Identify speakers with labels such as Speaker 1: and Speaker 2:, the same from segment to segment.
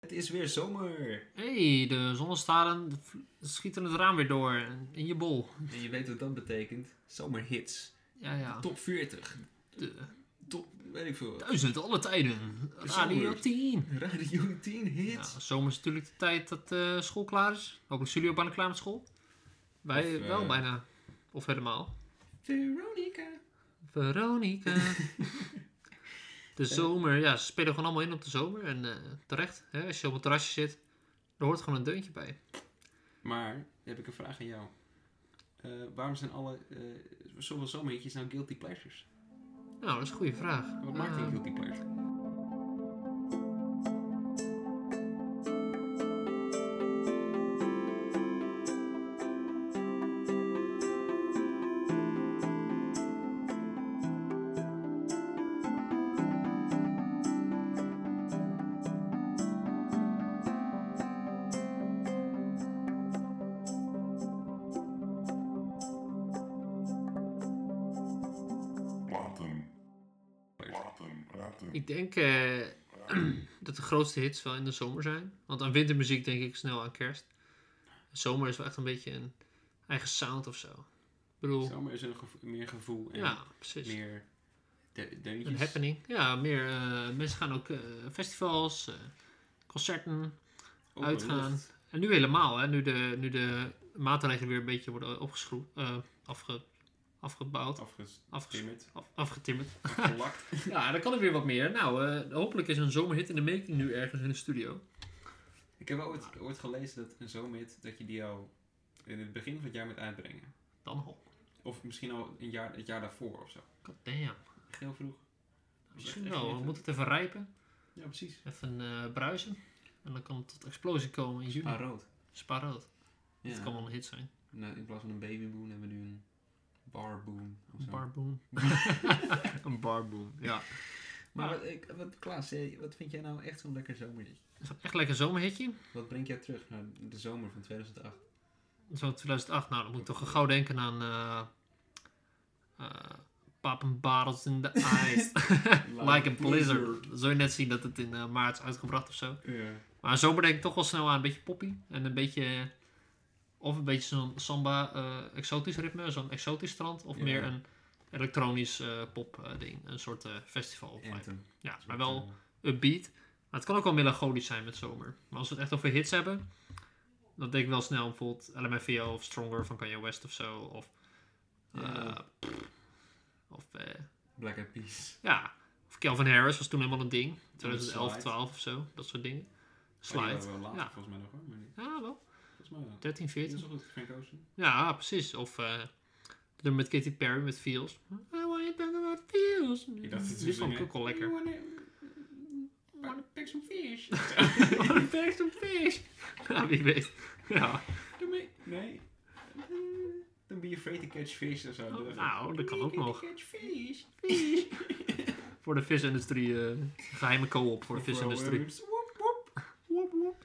Speaker 1: Het is weer zomer.
Speaker 2: hey, de zonnestaren v- schieten het raam weer door in je bol.
Speaker 1: En je weet wat dat betekent. Zomerhits.
Speaker 2: Ja, ja.
Speaker 1: Top 40.
Speaker 2: De-
Speaker 1: Top, weet ik veel.
Speaker 2: duizend alle tijden. Radio
Speaker 1: Zomer.
Speaker 2: 10.
Speaker 1: Radio 10
Speaker 2: Ja,
Speaker 1: hits.
Speaker 2: zomer is natuurlijk de tijd dat eh, school klaar is. Hopelijk jullie ook bijna klaar met school. Wij
Speaker 1: Of, eh,
Speaker 2: wel bijna. Of helemaal.
Speaker 1: Veronica.
Speaker 2: Veronica.
Speaker 1: Eh.
Speaker 2: de zomer, ja, ze spelen gewoon allemaal in op de zomer. En eh, terecht, hè, als je op een terrasje zit, er hoort gewoon een deuntje bij.
Speaker 1: Maar, heb ik een vraag aan jou. Eh, waarom zijn alle, eh, zoveel zomerhitjes nou guilty pleasures?
Speaker 2: Nou, dat is een goede vraag.
Speaker 1: Wat maakt
Speaker 2: Eh,
Speaker 1: een guilty pleasure?
Speaker 3: Platen. Platen. Platen.
Speaker 2: Ik denk eh, dat de grootste hits wel in de zomer zijn. Want aan wintermuziek denk ik snel aan kerst. Zomer is wel echt een beetje een eigen sound of zo. Ik bedoel,
Speaker 1: Zomer is een gevo- meer gevoel en
Speaker 2: ja, precies.
Speaker 1: meer de- deuntjes.
Speaker 2: Een happening. Ja, meer eh, mensen gaan ook eh, festivals, eh, concerten.
Speaker 1: Open
Speaker 2: uitgaan.
Speaker 1: lucht.
Speaker 2: En nu helemaal, hè, nu, de, nu de maatregelen weer een beetje worden opgeschroefd, eh, afge, afgebouwd, afges,
Speaker 1: Afgestimmerd.
Speaker 2: af- afgetimmerd.
Speaker 1: Afgelakt.
Speaker 2: ja, dan kan er weer wat meer. Nou, eh, hopelijk is een zomerhit in de making nu ergens in de studio.
Speaker 1: Ik heb ooit, ooit gelezen dat een zomerhit, dat je die al in het begin van het jaar moet uitbrengen.
Speaker 2: Dan hop.
Speaker 1: Of misschien al een jaar, het jaar daarvoor of zo.
Speaker 2: Goddamn.
Speaker 1: Echt heel vroeg.
Speaker 2: Misschien wel. We moeten het even rijpen.
Speaker 1: Ja, precies.
Speaker 2: Even eh, bruisen. En dan kan het tot explosie komen in juni.
Speaker 1: Maar Ah, rood.
Speaker 2: Sparood. Dat
Speaker 1: Ja.
Speaker 2: kan wel een hit zijn.
Speaker 1: Nou, in plaats van een babyboom hebben we nu een barboom. Of zo.
Speaker 2: Barboom. een barboom, ja.
Speaker 1: maar wat, ik, wat, Klaas, eh, wat vind jij nou echt zo'n lekker zomerhit?
Speaker 2: Is dat echt lekker een zomerhitje?
Speaker 1: Wat brengt jou terug naar de zomer van 2008?
Speaker 2: Zo 2008, nou dan moet ik toch gauw denken aan... eh eh, Poppin' Bottles in the Ice. like a Blizzard. Dan zul je net zien dat het in eh, maart is uitgebracht of zo.
Speaker 1: Ja.
Speaker 2: Maar zo bedenk ik toch wel snel aan een beetje poppy. En een beetje. Of een beetje zo'n samba-exotisch ritme, zo'n exotisch strand. Of
Speaker 1: Ja.
Speaker 2: meer een elektronisch pop-ding. een soort eh, festival. vibe.
Speaker 1: Anthem.
Speaker 2: Ja, maar wel upbeat. Maar het kan ook wel melancholisch zijn met zomer. Maar als we het echt over hits hebben, dan denk ik wel snel aan bijvoorbeeld LMFAO of Stronger van Kanye West of zo. Of. eh,
Speaker 1: Ja.
Speaker 2: pff, of eh,
Speaker 1: Black Eyed Peas.
Speaker 2: ja. Of Calvin Harris was toen helemaal een ding.
Speaker 1: Slide.
Speaker 2: 2011, 12 of zo. Dat soort dingen. Slide.
Speaker 1: Oh, wel later
Speaker 2: Ja.
Speaker 1: volgens mij nog hoor. Maar niet.
Speaker 2: Ja, wel.
Speaker 1: Volgens mij wel.
Speaker 2: 13,
Speaker 1: Dit is
Speaker 2: 14.
Speaker 1: wel goed, Frank Ocean.
Speaker 2: Ja, precies. Of eh het nummer met Katy Perry met Feels. I wanna talk about feels.
Speaker 1: Ik dacht, het
Speaker 2: Die
Speaker 1: is
Speaker 2: vond ik ook wel lekker.
Speaker 1: Wanna pick some fish?
Speaker 2: I wanna back to fish. Ja, wie weet. Ja.
Speaker 1: Doe mee. Nee. Don't be afraid to catch fish of zo.
Speaker 2: Oh,
Speaker 1: dacht ik.
Speaker 2: nou, dat kan
Speaker 1: Don't
Speaker 2: ook
Speaker 1: be
Speaker 2: nog.
Speaker 1: afraid to catch fish.
Speaker 2: Voor de visindustrie. eh, geheime co-op voor de visindustrie.
Speaker 1: eh, Woep, woep.
Speaker 2: Woep, woep.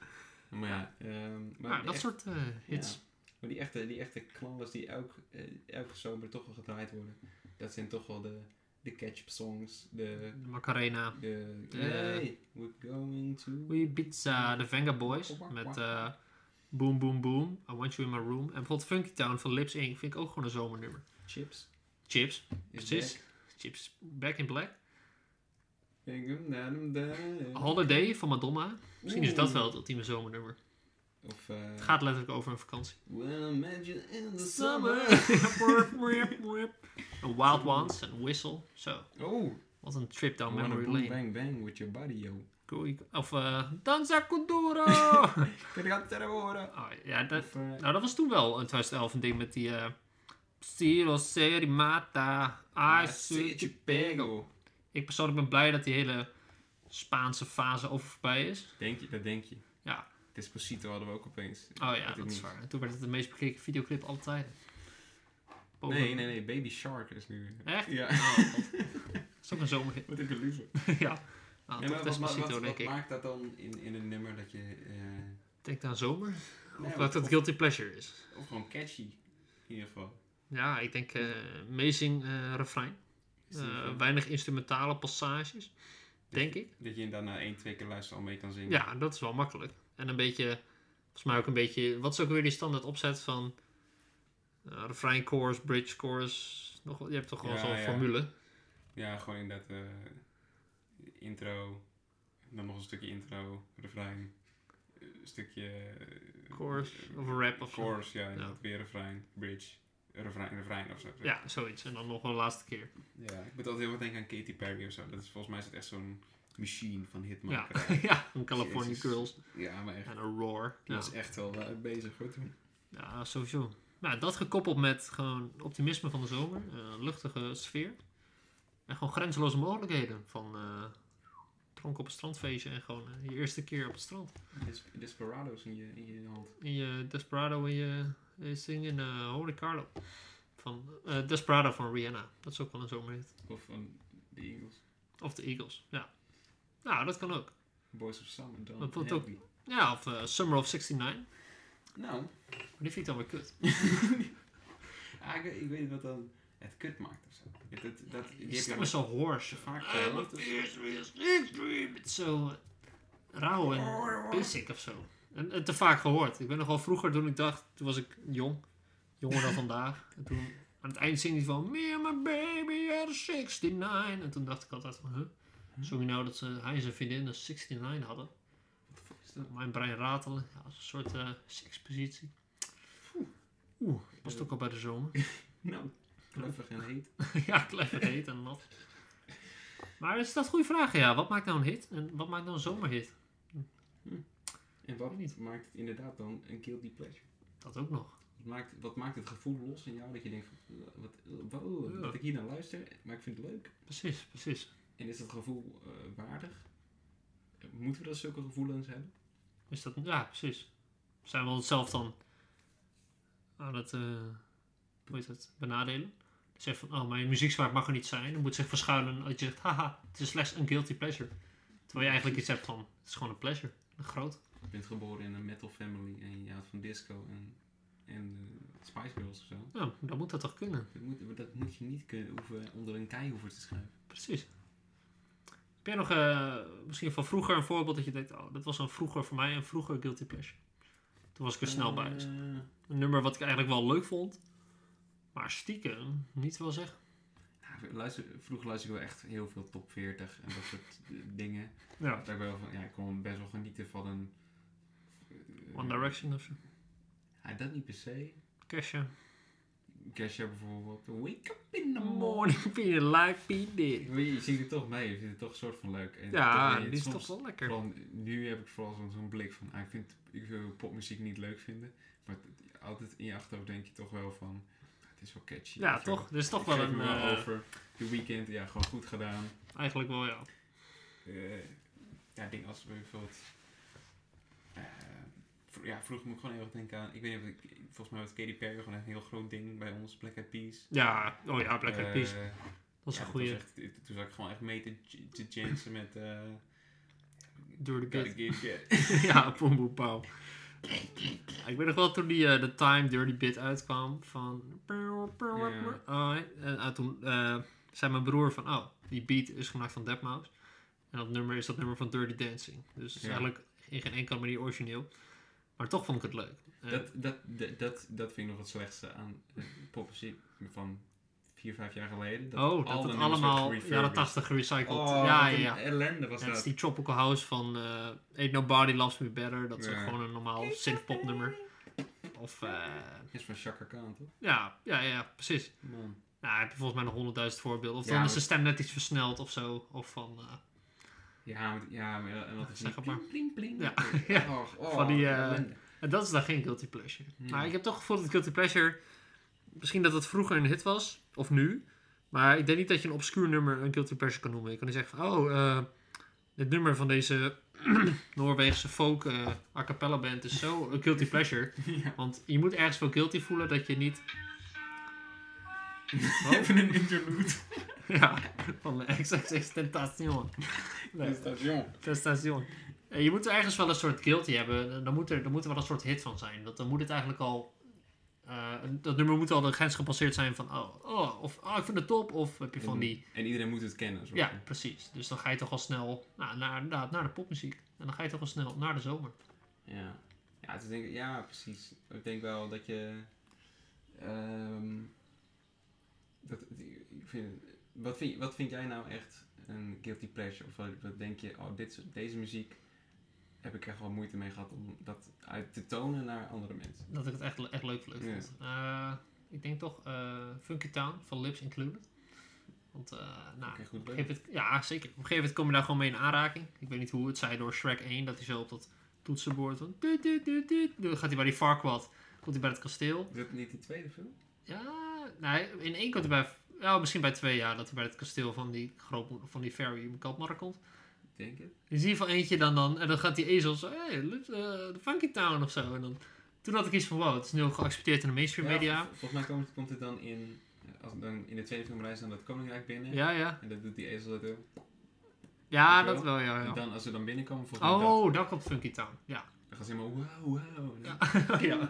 Speaker 1: Maar ja, ehm, maar
Speaker 2: Nou,
Speaker 1: die
Speaker 2: dat
Speaker 1: echt-
Speaker 2: soort eh, hits.
Speaker 1: Maar die echte, die echte knallers die elk, eh, elke zomer toch wel gedraaid worden, dat zijn toch wel de, de catch-up songs, de...
Speaker 2: Macarena.
Speaker 1: de
Speaker 2: De-
Speaker 1: hey, we're going to...
Speaker 2: We Pizza, de Venga Boys. Met eh, Boom Boom Boom. I Want You In My Room. En bijvoorbeeld Funky Town van Lips Inc. vind ik ook gewoon een zomernummer.
Speaker 1: Chips.
Speaker 2: Chips.
Speaker 1: is
Speaker 2: Precies.
Speaker 1: back.
Speaker 2: Chips. Back in Black.
Speaker 1: Ding, dum, dum, dum.
Speaker 2: Holiday van Madonna. Misschien is dat
Speaker 1: Oeh.
Speaker 2: wel het ultieme zomernummer.
Speaker 1: Of... eh,
Speaker 2: Het gaat letterlijk over een vakantie.
Speaker 1: Well, imagine in the
Speaker 2: Summer.
Speaker 1: summer.
Speaker 2: Een Wild Ones en Whistle. Zo,
Speaker 1: Oh,
Speaker 2: wat een trip down
Speaker 1: wanna
Speaker 2: memory
Speaker 1: boom
Speaker 2: lane.
Speaker 1: bang bang with your body, yo.
Speaker 2: Goeie- Of eh Danza Kuduro. oh,
Speaker 1: Kijk, dat gaat horen.
Speaker 2: ja, dat,
Speaker 1: Of, eh,
Speaker 2: nou, dat was toen wel in 2011 een ding met die... eh Siro Serimata, I see you pego. Ik persoonlijk ben blij dat die hele Spaanse fase over voorbij is.
Speaker 1: Denk je, dat denk je.
Speaker 2: Ja.
Speaker 1: Despacito hadden we ook opeens.
Speaker 2: Oh
Speaker 1: Weet
Speaker 2: ja,
Speaker 1: ik
Speaker 2: dat is
Speaker 1: niet.
Speaker 2: waar. En toen werd het de meest bekeken videoclip altijd. Boven-
Speaker 1: Nee, nee, nee. Baby Shark is nu...
Speaker 2: Echt?
Speaker 1: Ja.
Speaker 2: Oh, god. dat is ook een ah, zomerhit.
Speaker 1: Wat heb je liever?
Speaker 2: ja. Nou,
Speaker 1: Nee,
Speaker 2: toch
Speaker 1: maar wat, wat,
Speaker 2: Despacito,
Speaker 1: wat-
Speaker 2: denk
Speaker 1: wat
Speaker 2: ik.
Speaker 1: maakt dat dan in, in een nummer dat je... eh,
Speaker 2: Denk aan zomer.
Speaker 1: Nee,
Speaker 2: of
Speaker 1: maar-
Speaker 2: dat het guilty pleasure is.
Speaker 1: of gewoon catchy, in ieder geval.
Speaker 2: Ja, ik denk eh amazing eh, refrein.
Speaker 1: Is die
Speaker 2: Eh,
Speaker 1: van-
Speaker 2: weinig instrumentale passages. denk ik.
Speaker 1: Dat je inderdaad na één, twee keer luisteren al mee kan zingen.
Speaker 2: Ja, dat is wel makkelijk. En een beetje, volgens mij ook een beetje, wat is ook weer die standaard opzet van eh refrein, chorus, bridge, chorus. Nog, wel- je hebt toch gewoon
Speaker 1: Ja,
Speaker 2: zo'n
Speaker 1: ja.
Speaker 2: formule.
Speaker 1: Ja, gewoon inderdaad eh intro, dan nog een stukje intro, refrein, eh, een stukje... eh,
Speaker 2: Chorus of een rap of zo.
Speaker 1: Chorus, ja, inderdaad. Weer refrein, bridge, refrein, refrein of zo.
Speaker 2: Ja, zoiets. En dan nog wel de laatste keer.
Speaker 1: Ja, ik moet altijd heel erg denken aan Katy Perry of zo. Dat is, volgens mij is het echt zo'n machine van
Speaker 2: Ja,
Speaker 1: hitmaker.
Speaker 2: ja een California
Speaker 1: Jezus.
Speaker 2: Girls
Speaker 1: Ja, maar echt.
Speaker 2: en een Roar.
Speaker 1: Die
Speaker 2: Ja.
Speaker 1: was echt wel eh, bezig hoor toen.
Speaker 2: Ja, sowieso. Nou, dat gekoppeld met gewoon optimisme van de zomer, eh, luchtige sfeer. En gewoon grenzeloze mogelijkheden van eh dronken op het strandfeestje en gewoon eh, je eerste keer op het strand.
Speaker 1: Des- Desperados in je, in je hand.
Speaker 2: In je Desperado in je, in je zingen eh, Holy Carlo. Van, eh, Desperado van Rihanna. Dat is ook wel een zomerhit.
Speaker 1: Of van de Eagles.
Speaker 2: Of de Eagles, ja. Nou, dat kan ook.
Speaker 1: Boys of Summer. Dan
Speaker 2: Dat wordt
Speaker 1: Happy.
Speaker 2: Ja, of eh, Summer of 69. Maar
Speaker 1: Nou,
Speaker 2: die vind ik dan weer kut.
Speaker 1: ah, ik, weet- ik weet wat dan het kut maakt of zo. Dat, dat, dat, die
Speaker 2: Die
Speaker 1: heb je
Speaker 2: stem
Speaker 1: dan
Speaker 2: is zo hoarse.
Speaker 1: te vaak
Speaker 2: I'm a
Speaker 1: gehoord.
Speaker 2: fierce, real snake dream. Het is zo eh, rauw en basic of zo. En, en te vaak gehoord. Ik ben nogal vroeger toen ik dacht, toen was ik jong. Jonger dan vandaag. En toen aan het eind zing hij van Me and my baby are 69. En toen dacht ik altijd van, huh?
Speaker 1: Hm?
Speaker 2: Sorry nou dat ze, hij en zijn vriendin een 69 hadden.
Speaker 1: Is dat-
Speaker 2: Mijn brein ratelen. Ja, als een soort eh, sekspositie. Oeh, past ook al bij de zomer.
Speaker 1: Nou, kluffig en heet.
Speaker 2: ja, clever hit en nat. Maar is dat een goede vraag, ja. Wat maakt nou een hit en wat maakt nou een zomerhit?
Speaker 1: En
Speaker 2: Weet
Speaker 1: wat
Speaker 2: niet.
Speaker 1: maakt het inderdaad dan een guilty pleasure?
Speaker 2: Dat ook nog.
Speaker 1: Wat maakt, wat maakt het gevoel los in jou dat je denkt van, eh, wat, eh, wow,
Speaker 2: Ja.
Speaker 1: dat ik hier naar luister, maar ik vind het leuk.
Speaker 2: Precies, precies.
Speaker 1: En is dat gevoel eh, waardig? Moeten we dat zulke gevoelens hebben?
Speaker 2: Is dat, ja, precies. Zijn we onszelf dan aan het, eh, hoe heet dat, benadelen? Zeg van, oh, mijn muzieksmaak mag er niet zijn. Dan moet zich verschuilen dat je zegt, haha, het is slechts een guilty pleasure. Terwijl je eigenlijk iets hebt van, het is gewoon een pleasure. Een groot.
Speaker 1: Je bent geboren in een metal family en je houdt van disco en, en eh, Spice Girls of zo.
Speaker 2: Ja, dan moet dat toch kunnen.
Speaker 1: Dat moet, dat moet je niet kunnen, hoeven, onder een kei hoeven te schuiven.
Speaker 2: Precies. Heb jij nog eh, misschien van vroeger een voorbeeld dat je denkt, oh, dat was een vroeger voor mij een vroeger guilty pleasure. Toen was ik er snel bij. Dus
Speaker 1: Eh,
Speaker 2: Een nummer wat ik eigenlijk wel leuk vond, maar stiekem niet wel zeggen.
Speaker 1: nou, luister, vroeger luisterde ik wel echt heel veel top 40 en dat soort eh, dingen.
Speaker 2: Ja.
Speaker 1: Dat ik, wel van, ja, ik kon best wel genieten van een... eh,
Speaker 2: One Direction of zo.
Speaker 1: Ja, dat niet per se.
Speaker 2: Kesha.
Speaker 1: Kesha bijvoorbeeld. Wake up in the
Speaker 2: The
Speaker 1: morning.
Speaker 2: morning feel like we did.
Speaker 1: Maar Je ziet het toch mee, je vindt het toch een soort van leuk. En
Speaker 2: Ja,
Speaker 1: toch- en
Speaker 2: die is
Speaker 1: soms-
Speaker 2: toch wel lekker.
Speaker 1: Van, nu heb ik vooral zo'n zo'n blik van, ah, ik, vind, ik wil popmuziek niet leuk vinden. Maar t- altijd in je achterhoofd denk je toch wel van, "Ah, het is wel catchy.
Speaker 2: Ja,
Speaker 1: weet je wel.
Speaker 2: toch? Er is toch
Speaker 1: Ik
Speaker 2: wel
Speaker 1: geef
Speaker 2: een,
Speaker 1: me wel
Speaker 2: eh,
Speaker 1: over. De weekend, ja, gewoon goed gedaan.
Speaker 2: eigenlijk wel ja.
Speaker 1: Eh, ja, ik denk als bijvoorbeeld... eh, vro- ja, vroeger moet ik gewoon heel erg denken aan... Ik weet niet of ik... Volgens mij was Katy Perry gewoon een heel groot ding bij ons. Black Eyed Peas.
Speaker 2: Ja, oh ja, Black Eyed Peas.
Speaker 1: Eh,
Speaker 2: Dat is
Speaker 1: ja,
Speaker 2: een goede.
Speaker 1: was echt- Toen zat ik gewoon echt mee te, j- te jansen met... eh
Speaker 2: Door de
Speaker 1: Gotta
Speaker 2: bit.
Speaker 1: Get Get.
Speaker 2: ja, Boom Boom Pow. Ik weet nog wel toen die eh The Time Dirty Bit uitkwam van...
Speaker 1: Ja.
Speaker 2: Oh, en eh, toen eh, zei mijn broer van... Oh, die beat is gemaakt van Deadmau5. En dat nummer is dat nummer van Dirty Dancing. Dus het is
Speaker 1: Ja.
Speaker 2: eigenlijk in geen enkele manier origineel. Maar toch vond ik het leuk. Eh, En
Speaker 1: Dat, dat, dat, dat, dat vind ik nog het slechtste aan eh, popmuziek van 4, 5 jaar geleden.
Speaker 2: oh,
Speaker 1: al
Speaker 2: dat
Speaker 1: de
Speaker 2: het
Speaker 1: nummers
Speaker 2: allemaal
Speaker 1: werden
Speaker 2: jaren
Speaker 1: refurbished.
Speaker 2: 80 gerecycled.
Speaker 1: Oh,
Speaker 2: ja,
Speaker 1: wat
Speaker 2: ja,
Speaker 1: een
Speaker 2: ja.
Speaker 1: ellende was
Speaker 2: En het
Speaker 1: dat.
Speaker 2: is die Tropical House van eh Ain't Nobody Loves Me Better. Dat is ook
Speaker 1: Ja.
Speaker 2: gewoon een normaal synthpop nummer. Of, eh,
Speaker 1: is van Chaka Khan, toch?
Speaker 2: ja, ja, ja, precies.
Speaker 1: Man.
Speaker 2: Nou, heb je volgens mij nog honderdduizend voorbeelden. Of
Speaker 1: Ja,
Speaker 2: dan is
Speaker 1: maar-
Speaker 2: de stem net iets versneld of zo. Of van, eh,
Speaker 1: Ja, maar, ja, maar en dat is
Speaker 2: Zeg
Speaker 1: die
Speaker 2: het maar.
Speaker 1: pling, pling, pling.
Speaker 2: Ja.
Speaker 1: Och, oh,
Speaker 2: Van die,
Speaker 1: wat
Speaker 2: eh,
Speaker 1: ellende.
Speaker 2: En dat is dan geen guilty pleasure.
Speaker 1: Hmm.
Speaker 2: Maar ik heb toch gevoeld dat guilty pleasure... Misschien dat het vroeger een hit was. Of nu. Maar ik denk niet dat je een obscuur nummer een guilty pleasure kan noemen. Je kan niet zeggen van... Oh, eh, dit nummer van deze Noorweegse folk eh a cappella band is zo een guilty pleasure.
Speaker 1: Ja.
Speaker 2: Want je moet ergens wel guilty voelen dat je niet...
Speaker 1: Even een interlude.
Speaker 2: ja, van de XXX Tentacion. Nee.
Speaker 1: Dus Station.
Speaker 2: Prestation. Eh, Je Eh, moet ergens wel een soort guilty hebben. Dan moet er, dan moet er wel een soort hit van zijn. Dat, dan moet het eigenlijk al eh, dat nummer moet al de grens gepasseerd zijn van, oh, oh, of oh, ik vind het top, of heb je van die
Speaker 1: En iedereen moet het kennen. soort
Speaker 2: Ja,
Speaker 1: van.
Speaker 2: precies. Dus dan ga je toch al snel nou, naar, inderdaad, naar de popmuziek. En dan ga je toch al snel naar de zomer.
Speaker 1: Ja, ja, het is denk ik, ja precies. Ik denk wel dat je. ehm, dat, die- ik vind, wat, vind, wat vind jij nou echt een guilty pleasure? Of wat, wat denk je, oh, dit, is- deze muziek heb ik echt wel moeite mee gehad om dat uit te tonen naar andere mensen.
Speaker 2: Dat ik het echt, echt leuk, leuk
Speaker 1: Ja.
Speaker 2: vond. Eh, ik denk toch eh, Funky Town van Lips Included. Want, eh, nou,
Speaker 1: Oké, goed
Speaker 2: op een gegeven moment, ja, zeker. Op een gegeven moment kom je daar gewoon mee in aanraking. Ik weet niet hoe het zij door Shrek 1 dat hij zo op dat toetsenbord. Van, doet, doet, doet, doet. Dan gaat hij bij die Farquad. Komt hij bij het kasteel.
Speaker 1: Is dat niet die tweede film?
Speaker 2: Ja, nee, in één komt hij bij. Nou, misschien bij twee jaar dat hij bij het kasteel van die, grootmoeder, van die fairy in Kalpmarkt komt.
Speaker 1: Ik denk het.
Speaker 2: Dus in ieder geval eentje dan dan. En dan gaat die ezel zo, hey, Lips, eh, de Funky Town of zo. En dan, toen had ik iets van, wow, het is nu ook geaccepteerd in de mainstream
Speaker 1: Ja,
Speaker 2: media.
Speaker 1: vol- volgens mij komt, komt het dan in, eh, als dan in de tweede film reist dan dat koninkrijk binnen.
Speaker 2: Ja, ja.
Speaker 1: En dat doet die ezel dat ook.
Speaker 2: Ja,
Speaker 1: Weet je
Speaker 2: dat wel, ja.
Speaker 1: En
Speaker 2: ja.
Speaker 1: dan, als ze dan binnenkomen, volgens mij dat,
Speaker 2: Oh, daar komt Funky Town. Ja.
Speaker 1: dan gaan ze helemaal wauw, wauw.
Speaker 2: ja. ja.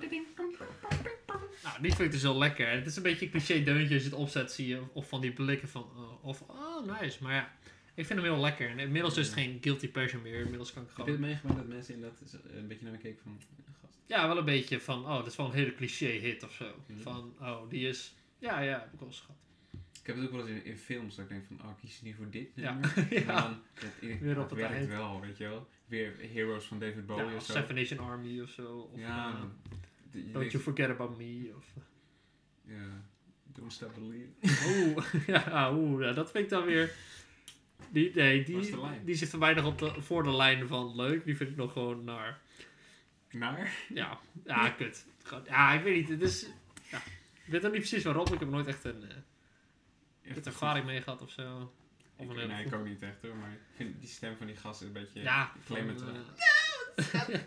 Speaker 2: Nou, die vind ik dus heel lekker. En het is een beetje een cliché deuntje als je het opzet, zie je. Of van die blikken van, eh, of, oh, nice. Maar ja, ik vind hem heel lekker. En inmiddels is het geen guilty pleasure meer. Inmiddels kan ik
Speaker 1: Heb je het
Speaker 2: gewoon...
Speaker 1: meegemaakt dat mensen in dat z- een beetje naar me keken van, eh, gast,
Speaker 2: Ja, wel een beetje van, oh, dat is wel een hele cliché hit of zo.
Speaker 1: Mhm.
Speaker 2: Van, oh, die is... Ja, ja, heb ik wel eens gehad.
Speaker 1: ik heb het ook wel eens in, in films dat ik denk van, oh, kies je nu voor dit
Speaker 2: Ja.
Speaker 1: nummer?
Speaker 2: Ja.
Speaker 1: En dan, dat, ik,
Speaker 2: Weer
Speaker 1: Weer
Speaker 2: op
Speaker 1: dat
Speaker 2: het
Speaker 1: werkt
Speaker 2: eind.
Speaker 1: wel, weet je wel. Weer Heroes van David Bowie
Speaker 2: ja,
Speaker 1: of
Speaker 2: of
Speaker 1: zo.
Speaker 2: Seven Nation Army of zo. Of,
Speaker 1: ja,
Speaker 2: eh,
Speaker 1: d- je
Speaker 2: Don't
Speaker 1: denkt,
Speaker 2: You Forget About Me. Of,
Speaker 1: ja, Don't Stop Believing.
Speaker 2: oeh, oh, ja, ah, oeh, ja, dat vind ik dan weer... Die, nee,
Speaker 1: Waar is
Speaker 2: die,
Speaker 1: de lijn?
Speaker 2: die zit voor mij nog op de, voor de lijn van leuk. Die vind ik nog gewoon naar...
Speaker 1: Maar,
Speaker 2: Ja, ja kut. Gewoon- Ja, ik weet niet. Het is... Ja, ik weet ook niet precies waarom. Ik heb nooit echt een eh, kut ervaring mee gehad of zo. Of
Speaker 1: Ik,
Speaker 2: een
Speaker 1: nee,
Speaker 2: hele
Speaker 1: ik ook niet echt hoor, maar ik vind die stem van die gast een beetje
Speaker 2: Ja,
Speaker 1: claimant.
Speaker 2: van,
Speaker 1: terug.
Speaker 2: eh,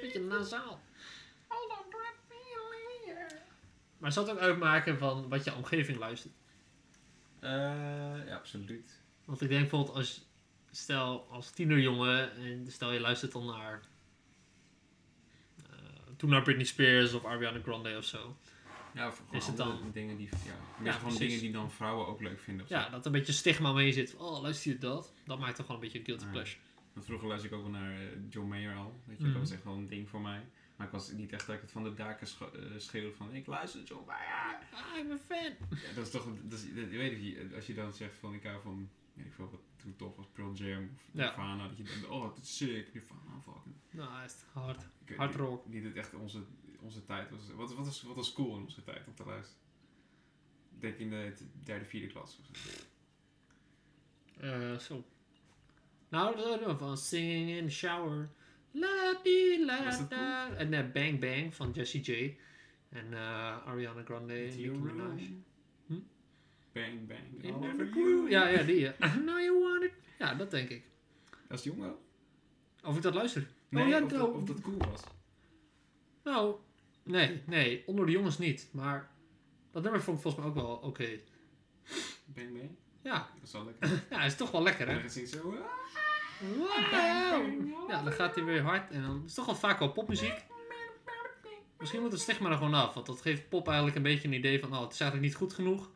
Speaker 2: Beetje nasaal. Maar zal het ook uitmaken van wat je omgeving luistert?
Speaker 1: Eh, ja, absoluut.
Speaker 2: Want ik denk bijvoorbeeld als, stel als tienerjongen en stel je luistert dan naar, eh, toen naar Britney Spears of Ariana Grande of zo.
Speaker 1: Ja, of gewoon
Speaker 2: Is het
Speaker 1: andere
Speaker 2: dan-
Speaker 1: dingen die, ja, meer gewoon
Speaker 2: precies.
Speaker 1: dingen die dan vrouwen ook leuk vinden of zo.
Speaker 2: Ja, dat er een beetje stigma mee zit. van, Oh, luister je dat? Dat maakt toch wel een beetje een guilty
Speaker 1: Ja.
Speaker 2: pleasure.
Speaker 1: Want vroeger luisterde ik ook wel naar eh, John Mayer al. Weet je,
Speaker 2: Mhm.
Speaker 1: dat was echt wel een ding voor mij. Maar ik was niet echt dat ik het van de daken scho- eh, schreeuwde van ik luister John Mayer.
Speaker 2: Ah, ik ben fan.
Speaker 1: Ja, dat is toch, dat is, dat, je weet je, als je dan zegt van ik hou van, weet ik veel wat toen tof was, Pearl Jam of
Speaker 2: Ja.
Speaker 1: Nirvana. Dat je denkt, oh dat is sick, Nirvana, fucking.
Speaker 2: Nou, is het hard.
Speaker 1: Ik weet
Speaker 2: Hard
Speaker 1: niet-
Speaker 2: rock.
Speaker 1: Niet dat het echt onze, onze tijd was. Wat, wat, was, wat was cool in onze tijd om te luisteren? Ik denk in de t- derde, vierde klas. of zo.
Speaker 2: Eh, zo. Nou, dat doen we van Singing in the Shower. La di
Speaker 1: Was
Speaker 2: la
Speaker 1: dat
Speaker 2: da. En eh, Bang Bang van Jessie J. En eh, Ariana Grande en Nicki Minaj. Hm?
Speaker 1: Bang, bang. Oh,
Speaker 2: In
Speaker 1: all
Speaker 2: the
Speaker 1: over
Speaker 2: groove.
Speaker 1: you.
Speaker 2: Ja, ja, die. ja. I know you want it. Ja, dat denk ik.
Speaker 1: Als jong wel?
Speaker 2: Of ik dat luister.
Speaker 1: Nee,
Speaker 2: Oh, ja,
Speaker 1: of, dat,
Speaker 2: nou-
Speaker 1: of dat cool was.
Speaker 2: Nou, nee, nee. Onder de jongens niet. Maar dat nummer vond ik volgens mij ook wel oké.
Speaker 1: Bang, bang.
Speaker 2: Ja.
Speaker 1: Dat is wel lekker.
Speaker 2: ja, is toch wel lekker,
Speaker 1: En
Speaker 2: hè?
Speaker 1: dan zingt ze zo... "Ah."
Speaker 2: Wow. Ja, dan gaat hij weer hard. En dan is het toch wel vaak wel popmuziek. Misschien moet het stigma er gewoon af. Want dat geeft pop eigenlijk een beetje een idee van... Oh, het is eigenlijk niet goed genoeg.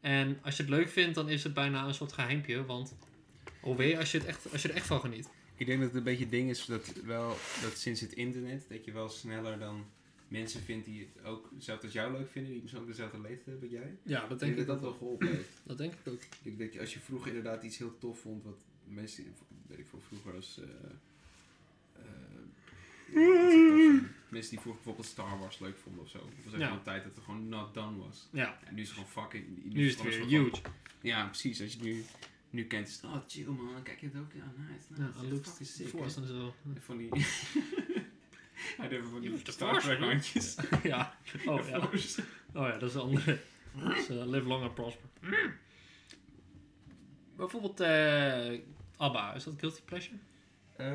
Speaker 2: En als je het leuk vindt, dan is het bijna een soort geheimpje. Want... Oh wee, als je, het echt, als je er echt van geniet.
Speaker 1: Ik denk dat het een beetje het ding is dat, wel, dat sinds het internet... dat je wel sneller dan mensen vindt die het ook zelf als jou leuk vinden... die misschien ook dezelfde leeftijd hebben als jij.
Speaker 2: Ja, dat
Speaker 1: Ik denk dat dat wel geholpen heeft.
Speaker 2: Dat denk ik ook.
Speaker 1: Ik denk als je vroeger inderdaad iets heel tof vond... wat mensen, weet ik veel, vroeger als... eh, eh, mensen die vroeger bijvoorbeeld Star Wars leuk vonden of zo. Dat was echt
Speaker 2: Ja.
Speaker 1: wel een tijd dat het gewoon not done was.
Speaker 2: Ja,
Speaker 1: En nu is het gewoon fucking...
Speaker 2: nu is het
Speaker 1: alles
Speaker 2: weer
Speaker 1: gewoon-
Speaker 2: huge.
Speaker 1: Ja, precies. Als je nu, nu kent, is het, oh chill man, kijk je het ook, ja nice, nice.
Speaker 2: Ja,
Speaker 1: Ja,
Speaker 2: looks
Speaker 1: fucking sick. hè.
Speaker 2: force en zo.
Speaker 1: En Van die... Hij deed van
Speaker 2: Je
Speaker 1: die
Speaker 2: moest de
Speaker 1: Star
Speaker 2: Force
Speaker 1: Trek
Speaker 2: doen.
Speaker 1: handjes.
Speaker 2: ja. Oh
Speaker 1: De
Speaker 2: ja.
Speaker 1: Force.
Speaker 2: oh ja, dat is de andere. Dat is, eh, live long and prosper. Bijvoorbeeld eh, ABBA, is dat Guilty Pleasure?
Speaker 1: Eh,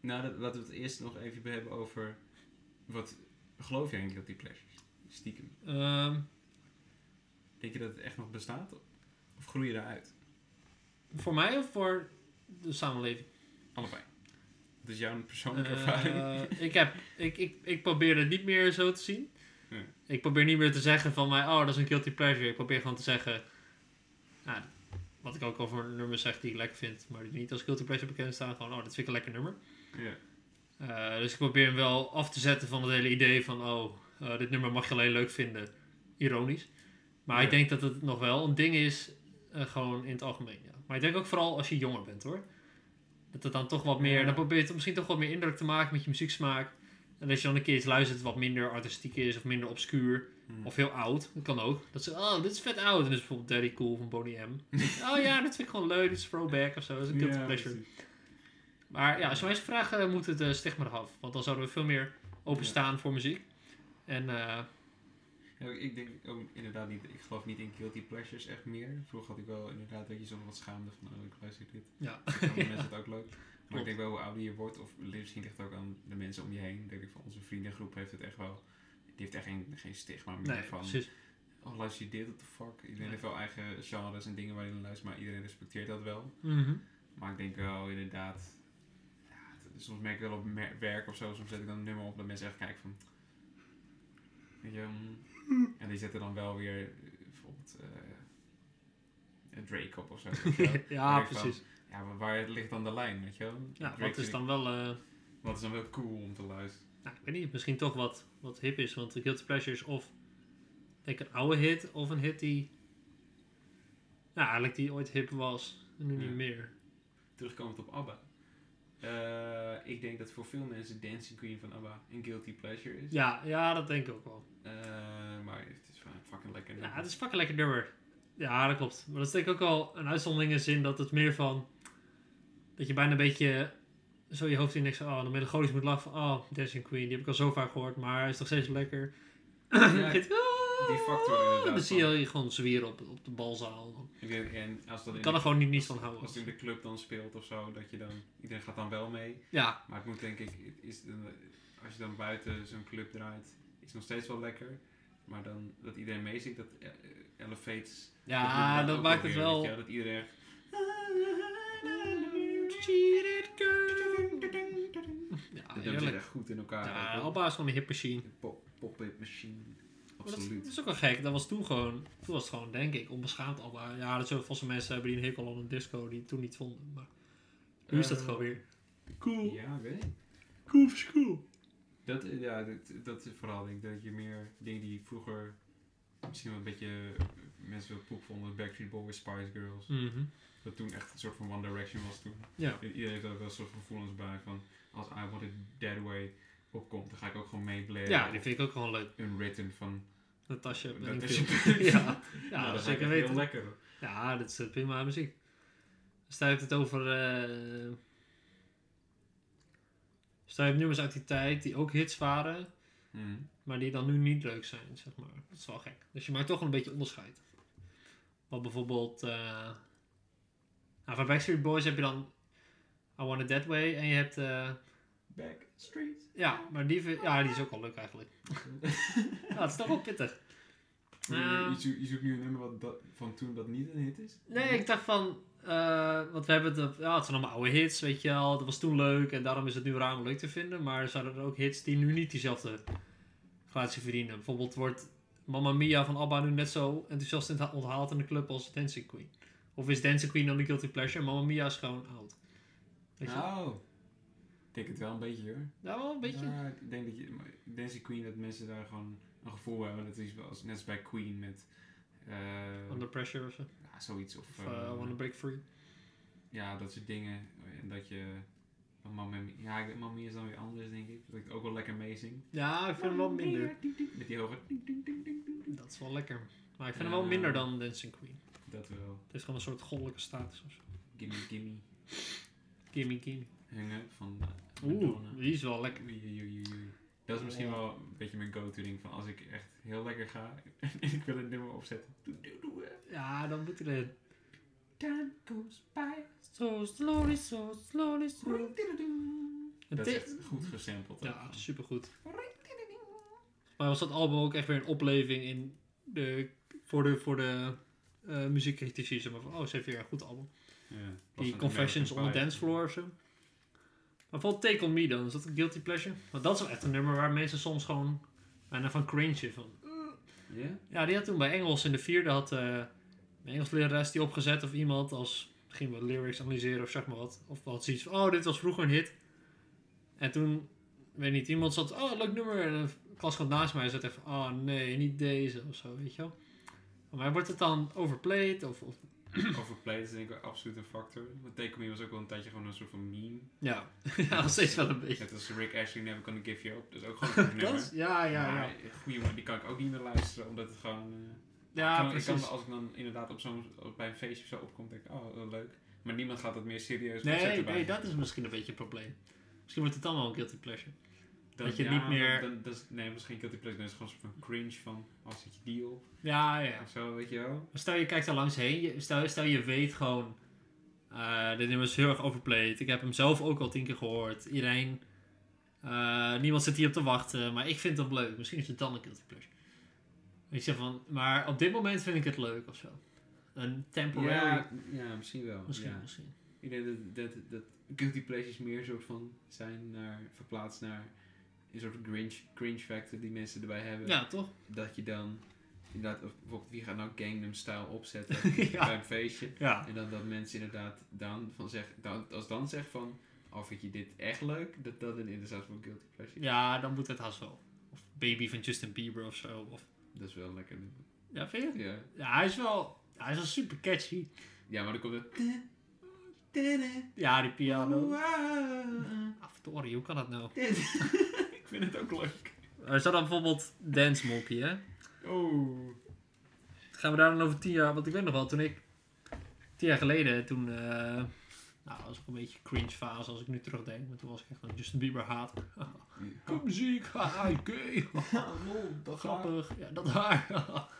Speaker 1: nou, dat, laten we het eerst nog even hebben over... Wat geloof jij in Guilty Pleasures? Stiekem.
Speaker 2: Ehm,
Speaker 1: Denk je dat het echt nog bestaat? Of groei je daaruit?
Speaker 2: voor mij of voor de samenleving?
Speaker 1: Allebei. Dat is jouw persoonlijke ervaring.
Speaker 2: Eh, ik, heb, ik, ik, ik probeer het niet meer zo te zien.
Speaker 1: Ja.
Speaker 2: Ik probeer niet meer te zeggen van mij, oh, dat is een guilty pleasure. Ik probeer gewoon te zeggen, nou, wat ik ook al voor nummers zeg die ik lekker vind, maar die niet als guilty pleasure bekend staan. Gewoon, oh, dat vind ik een lekker nummer.
Speaker 1: Ja.
Speaker 2: Eh, dus ik probeer hem wel af te zetten van het hele idee van, oh, eh, dit nummer mag je alleen leuk vinden. Ironisch. Maar
Speaker 1: Ja.
Speaker 2: ik denk dat het nog wel een ding is, eh, gewoon in het algemeen. Ja. Maar ik denk ook vooral als je jonger bent hoor. Dat het dan toch wat meer,
Speaker 1: Ja.
Speaker 2: dan probeer je het misschien toch wat meer indruk te maken met je muzieksmaak. En dat je dan een keer iets luistert wat minder artistiek is of minder obscuur.
Speaker 1: Hmm.
Speaker 2: Of heel oud, dat kan ook. Dat ze, oh, dit is vet oud. En dus bijvoorbeeld Daddy Cool van Bonnie M. oh ja, dat vind ik gewoon leuk, dit is throwback of zo. Dat is een guilty
Speaker 1: Ja,
Speaker 2: pleasure.
Speaker 1: precies.
Speaker 2: Maar ja, als je mij eens vraagt, eh, moet het eh, stigma eraf. Want dan zouden we veel meer openstaan voor muziek. En eh,
Speaker 1: Ja, ik denk ook inderdaad niet, ik geloof niet in guilty pleasures echt meer. Vroeger had ik wel inderdaad dat je soms wat schaamde van, oh, ik luister dit.
Speaker 2: ja.
Speaker 1: Ik vind andere mensen het ook leuk. Maar
Speaker 2: Klopt.
Speaker 1: ik denk wel hoe ouder je wordt, of misschien ligt het ook aan de mensen om je heen. Denk ik van onze vriendengroep heeft het echt wel, die heeft echt geen, geen stigma meer
Speaker 2: nee,
Speaker 1: van.
Speaker 2: precies.
Speaker 1: Oh, luister je dit, what the fuck? Iedereen
Speaker 2: Ja.
Speaker 1: heeft wel eigen genres en dingen waarin hij luistert, maar iedereen respecteert dat wel.
Speaker 2: Mhm.
Speaker 1: Maar ik denk wel inderdaad, ja, het- soms merk ik wel op mer- werk of zo, soms zet ik dan een nummer op dat mensen echt kijken van, weet je,
Speaker 2: Hmm.
Speaker 1: mm. en die zetten dan wel weer eh, bijvoorbeeld eh, een Drake op of zo. weet je wel.
Speaker 2: ja,
Speaker 1: Ik denk
Speaker 2: precies.
Speaker 1: ja, maar waar ligt dan de lijn, weet je wel?
Speaker 2: Ja,
Speaker 1: Drake
Speaker 2: wat
Speaker 1: vind
Speaker 2: is
Speaker 1: ik-
Speaker 2: dan wel... eh,
Speaker 1: Wat is dan wel cool om te luisteren?
Speaker 2: nou, ik weet niet, misschien toch wat, wat hip is. Want de Guilty Pleasure is of denk ik, een oude hit of een hit die... Nou, eigenlijk die ooit hip was en nu
Speaker 1: Ja.
Speaker 2: niet meer.
Speaker 1: Terugkomend op ABBA. Eh, ik denk dat voor veel mensen Dancing Queen van ABBA een guilty pleasure is.
Speaker 2: Ja, ja, dat denk ik ook wel.
Speaker 1: Eh, maar het is wel een fucking lekker.
Speaker 2: Ja,
Speaker 1: nummer.
Speaker 2: het is fucking lekker nummer. Ja, dat klopt. Maar dat is denk ik ook wel een uitzondering in de zin dat het meer van... Dat je bijna een beetje zo je hoofd in denkt van... Oh, dan melancholisch moet lachen van... Oh, Dancing Queen, die heb ik al zo vaak gehoord, maar hij is toch steeds lekker.
Speaker 1: Ja,
Speaker 2: Dit-
Speaker 1: die factor inderdaad
Speaker 2: Dan zie
Speaker 1: van-
Speaker 2: je gewoon zwieren op, op de balzaal.
Speaker 1: Ik denk- En als dat
Speaker 2: Ik
Speaker 1: in
Speaker 2: kan er
Speaker 1: de,
Speaker 2: gewoon niet niets van houden.
Speaker 1: als het in de club dan speelt of zo, dat je dan, iedereen gaat dan wel mee.
Speaker 2: Ja,
Speaker 1: Maar ik moet denk ik, het is, dan- als je dan buiten zo'n club draait, is het nog steeds wel lekker. Maar dan dat iedereen meezingt, dat eh, elevates.
Speaker 2: ja
Speaker 1: dat
Speaker 2: dat maakt het wel...
Speaker 1: Ja, dat iedereen echt-
Speaker 2: Ja,
Speaker 1: dat hebben ze
Speaker 2: Ah, heerlijk.
Speaker 1: echt goed in elkaar.
Speaker 2: Ja,
Speaker 1: ook, hoor.
Speaker 2: Alba is gewoon een hip machine.
Speaker 1: Pop- Pop-up machine.
Speaker 2: Maar Dat,
Speaker 1: Absoluut.
Speaker 2: dat is ook wel gek. Dat was toen gewoon, toen was het gewoon denk ik onbeschaamd al. Maar ja, dat zullen vast wel mensen hebben die een hekel aan een disco die het toen niet vonden. Maar nu is dat
Speaker 1: Eh,
Speaker 2: gewoon weer cool,
Speaker 1: Ja, weet ik.
Speaker 2: cool voor school.
Speaker 1: Dat, eh, ja, dat, dat is vooral denk ik dat je meer dingen die vroeger misschien wel een beetje eh, mensen wel poep vonden, Backstreet Boys, Spice Girls, dat toen echt een soort van One Direction was toen.
Speaker 2: Ja.
Speaker 1: I- Iedereen heeft daar wel een soort gevoelens bij van als I Want It That Way opkomt, dan ga ik ook gewoon meeblaren.
Speaker 2: ja, die vind ik ook gewoon leuk.
Speaker 1: Unwritten van...
Speaker 2: Natasja
Speaker 1: Dat
Speaker 2: Bedingfield.
Speaker 1: is je-
Speaker 2: ja, ja
Speaker 1: Nou, dat is eigenlijk
Speaker 2: zeker
Speaker 1: Heel
Speaker 2: weten.
Speaker 1: lekker. hoor.
Speaker 2: Ja, dit is eh, prima muziek. Stel je hebt het over... eh Stel je hebt nummers uit die tijd die ook hits waren,
Speaker 1: Mhm.
Speaker 2: maar die dan nu niet leuk zijn, zeg maar. Dat is wel gek. Dus je maakt toch wel een beetje onderscheid. Want bijvoorbeeld, eh nou, van Backstreet Boys heb je dan I Want It That Way en je hebt, eh,
Speaker 1: Backstreet.
Speaker 2: ja, maar die, vind- ja, die is ook wel leuk eigenlijk. ja, het is toch wel pittig.
Speaker 1: Je-
Speaker 2: Ehm.
Speaker 1: je, zoekt, je zoekt nu een nummer wat dat, van toen dat niet een hit is?
Speaker 2: Nee, ik dacht van, eh want we hebben het, op- ja, het zijn allemaal oude hits, weet je wel. Dat was toen leuk en daarom is het nu raar om leuk te vinden. Maar er zijn er ook hits die nu niet diezelfde gratie verdienen. Bijvoorbeeld wordt Mamma Mia van ABBA nu net zo enthousiast in- onthaald in de club als Dancing Queen. Of is Dancing Queen dan de guilty pleasure en Mamma Mia is gewoon oud. Weet je?
Speaker 1: Oh. Ik denk het wel een beetje hoor.
Speaker 2: Ja, wel een beetje.
Speaker 1: Ja, ik denk dat je, maar Dancing Queen, dat mensen daar gewoon een gevoel bij hebben. Dat is wel als, net als bij Queen met eh,
Speaker 2: Under Pressure of zo.
Speaker 1: ja, zoiets. Of,
Speaker 2: Of
Speaker 1: eh,
Speaker 2: eh, I Wanna Break Free.
Speaker 1: ja, dat soort dingen. En dat je. van Mamma Mia- Ja, ik- Mamma Mia is dan weer anders, denk ik. Dat ik het ook wel lekker meezing.
Speaker 2: Ja, ik vind hem wel minder.
Speaker 1: Met die hoge. ding, ding, ding, ding, ding.
Speaker 2: Dat is wel lekker. Maar ik vind hem wel
Speaker 1: Ja.
Speaker 2: minder dan Dancing Queen.
Speaker 1: Dat wel.
Speaker 2: Het is gewoon een soort goddelijke status of zo.
Speaker 1: Gimme, gimme.
Speaker 2: Gimme, gimme.
Speaker 1: Hangen van. eh, Madonna.
Speaker 2: Oeh, die is wel lekker.
Speaker 1: Oei, oei, oei, oei. Dat is misschien
Speaker 2: Ja.
Speaker 1: wel een beetje mijn go-to ding van als ik echt heel lekker ga en ik wil een nummer opzetten. Doe, doe, doe, eh.
Speaker 2: Ja, dan moet hij erin.
Speaker 1: Time goes by.
Speaker 2: Zo slowly, zo slowly, zo.
Speaker 1: Dat is echt goed gesampled. ook.
Speaker 2: Ja, supergoed. Maar was dat album ook echt weer een opleving in de, voor de, voor de eh muziekcritici? Zeg maar van, oh, ze heeft weer een goed album.
Speaker 1: Ja, pas
Speaker 2: Die
Speaker 1: aan
Speaker 2: Confessions on the
Speaker 1: American Pie.
Speaker 2: Dance Floor of zo. Maar vooral Take On Me dan, is dat een guilty pleasure? Want dat is wel echt een nummer waar mensen soms gewoon bijna van cringe van.
Speaker 1: Ja?
Speaker 2: Ja, die had toen bij Engels in de vierde had eh een Engels lerares die opgezet of iemand als ging wat lyrics analyseren of zeg maar wat. Of had zoiets van, oh, dit was vroeger een hit. En toen, weet niet, iemand zat, oh, leuk nummer. En een klasgenoot naast mij zat even, oh nee, niet deze of zo, weet je wel. Maar wordt het dan overplayed of, of
Speaker 1: Overplayed is denk ik wel absoluut een factor. Want Take On Me was ook wel een tijdje gewoon een soort van meme.
Speaker 2: ja, ja, nog steeds wel een beetje.
Speaker 1: Net als Rick Ashley Never Gonna Give You Up. Dat is ook gewoon een goed
Speaker 2: Dat
Speaker 1: nummer.
Speaker 2: is- ja, ja, ja.
Speaker 1: Maar, eh, goeie, maar die kan ik ook niet meer luisteren, omdat het gewoon... eh, ik
Speaker 2: Ja,
Speaker 1: kan- ik kan,
Speaker 2: precies.
Speaker 1: als ik dan inderdaad op zo'n, op- bij een feestje of zo opkom, denk ik, oh, wel leuk. Maar niemand gaat het meer serieus
Speaker 2: Nee,
Speaker 1: opzetten bij.
Speaker 2: nee, dat is misschien een beetje een probleem. Misschien wordt het dan wel een guilty pleasure.
Speaker 1: Dan-
Speaker 2: dat je
Speaker 1: ja,
Speaker 2: niet meer-
Speaker 1: Dan, dat is, nee, misschien guilty pleasure, dan is het gewoon een soort van cringe van, als zit je die op,
Speaker 2: Ja, ja.
Speaker 1: of zo, weet je wel.
Speaker 2: Maar Stel je kijkt er langs heen. Je- Stel, stel je weet gewoon. eh, dit nummer is heel erg overplayed. Ik heb hem zelf ook al tien keer gehoord. Iedereen. eh, niemand zit hierop te wachten. Maar ik vind het leuk. Misschien is het dan een guilty pleasure. Ik zeg van. Maar op dit moment vind ik het leuk of zo. Een temporary.
Speaker 1: Ja, ja, misschien wel.
Speaker 2: misschien,
Speaker 1: ja.
Speaker 2: misschien.
Speaker 1: Ik denk dat, dat, dat guilty pleasures meer een soort van zijn naar, verplaatst naar een soort cringe, cringe factor die mensen erbij hebben.
Speaker 2: Ja, toch?
Speaker 1: Dat je dan, inderdaad, of bijvoorbeeld wie gaat nou Gangnam Style opzetten
Speaker 2: Ja.
Speaker 1: bij een feestje.
Speaker 2: Ja.
Speaker 1: En dan dat mensen inderdaad dan van zeggen, dan, als dan zegt van, oh vind je dit echt leuk, dat dat een inderdaad voor guilty pleasure is.
Speaker 2: Ja, dan moet het haast wel. Of Baby van Justin Bieber of zo. Of,
Speaker 1: Dat is wel lekker.
Speaker 2: ja, vind je? het?
Speaker 1: Ja,
Speaker 2: Ja, hij is wel. Hij is wel super catchy.
Speaker 1: ja maar dan komt het.
Speaker 2: Ja, die piano. Aftorie, hoe kan dat nou?
Speaker 1: Ik vind het ook leuk.
Speaker 2: Er staat dan bijvoorbeeld Dance Monkey, hè?
Speaker 1: Oh.
Speaker 2: Gaan we daar dan over tien jaar... Want ik weet nog wel, toen ik... Tien jaar geleden, toen... eh, nou, dat was ook een beetje cringe fase als ik nu terugdenk. Maar toen was ik echt een Justin Bieber haat. Kom muziek, haha, gay.
Speaker 1: dat
Speaker 2: Grappig. Ja, dat haar.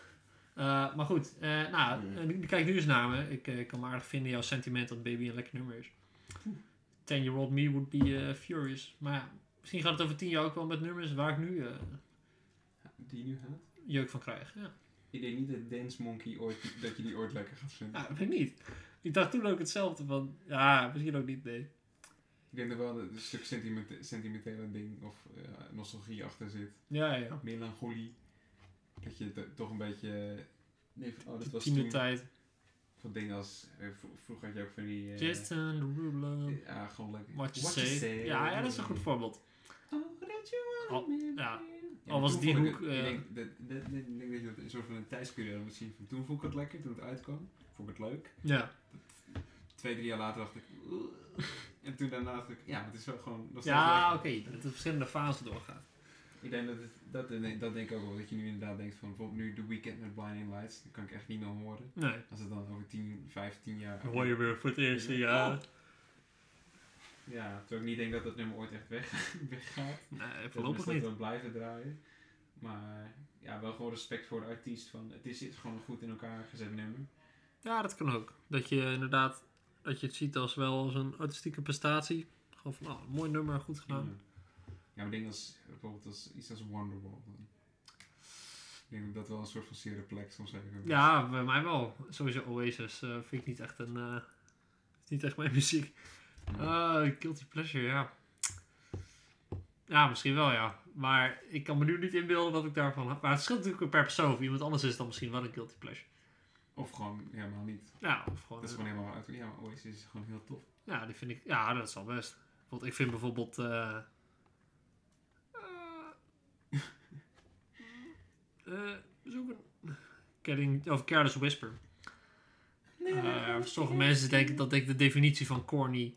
Speaker 2: Eh, maar goed, eh, nou,
Speaker 1: Mm.
Speaker 2: eh, nu- kijk nu eens naar me. Ik eh, kan me aardig vinden jouw sentiment dat Baby een lekker nummer is. 10-year-old me would be eh, furious. Maar ja, misschien gaat het over tien jaar ook wel met nummers waar ik nu eh,
Speaker 1: Die nu haat?
Speaker 2: jeuk van krijg. Ja.
Speaker 1: Ik denk niet dat Dance Monkey ooit, dat je die ooit lekker gaat vinden.
Speaker 2: Ja, ik weet niet. Ik dacht toen ook hetzelfde van, ja, misschien ook niet, nee.
Speaker 1: Ik denk er wel een stuk sentiment- sentimentele ding of eh, nostalgie achter zit.
Speaker 2: Ja, ja.
Speaker 1: melancholie. Dat je t- toch een beetje. Nee, van, oh, dat was toen.
Speaker 2: Tienertijd.
Speaker 1: Van dingen als. eh, vro- vroeger had je ook van die. eh,
Speaker 2: Justin Derulo,
Speaker 1: ja, gewoon lekker.
Speaker 2: What You Say. Ja, ja, dat is een goed voorbeeld.
Speaker 1: Oh, that you wanna
Speaker 2: Al-
Speaker 1: be
Speaker 2: ja.
Speaker 1: free.
Speaker 2: Al was
Speaker 1: toen
Speaker 2: die
Speaker 1: vond ik
Speaker 2: hoek,
Speaker 1: het-
Speaker 2: eh,
Speaker 1: Ik denk dat, dat, dat- ik denk dat je dat een soort van een tijdsperiode moet zien. Van toen vond ik het lekker, toen het uitkwam. Vond ik het leuk.
Speaker 2: Ja,
Speaker 1: Twee, drie jaar later dacht ik. "Ugh." En toen daarna dacht ik, ja, maar het is wel gewoon. nog steeds
Speaker 2: ja
Speaker 1: lekker.
Speaker 2: oké. Dat de verschillende fasen doorgaat.
Speaker 1: Ik denk dat, het, dat, nee, dat denk ik ook wel. Dat je nu inderdaad denkt van bijvoorbeeld nu The Weeknd met Blinding Lights. Dat kan ik echt niet meer horen.
Speaker 2: Nee.
Speaker 1: Als het dan over 10, 15 jaar.
Speaker 2: Dan hoor je weer voor het eerst in je
Speaker 1: Ja.
Speaker 2: haar.
Speaker 1: Ja, terwijl ik niet denk dat dat nummer ooit echt weg, weggaat.
Speaker 2: Nee,
Speaker 1: dat
Speaker 2: voorlopig
Speaker 1: we
Speaker 2: niet.
Speaker 1: Dus Dat blijven draaien. Maar ja, wel gewoon respect voor de artiest. Van, het is, is gewoon een goed in elkaar gezet nummer.
Speaker 2: Ja, dat kan ook. Dat je inderdaad, dat je het ziet als wel als een artistieke prestatie. Gewoon van, oh, mooi nummer, goed
Speaker 1: Ja,
Speaker 2: gedaan.
Speaker 1: maar ik denk als bijvoorbeeld als, iets als Wonderwall. dan- Ik denk dat dat wel een soort van zere plek soms even.
Speaker 2: Ja, bij mij wel. Sowieso Oasis eh, vind ik niet echt een... eh, is niet echt mijn muziek. Eh, guilty pleasure, ja. Ja, misschien wel, ja. Maar ik kan me nu niet inbeelden wat ik daarvan heb. Maar het scheelt natuurlijk per persoon. Voor iemand anders is het dan misschien wel een guilty pleasure.
Speaker 1: Of gewoon helemaal niet.
Speaker 2: Ja, of gewoon...
Speaker 1: Dat is gewoon helemaal uit. Ja, maar Oasis is gewoon heel tof.
Speaker 2: Ja, die vind ik... Ja, dat is al best. Want ik vind bijvoorbeeld... eh, eh, eh, zoek een- Getting... Of Careless Whisper. Eh, sommige mensen denken dat ik de definitie van corny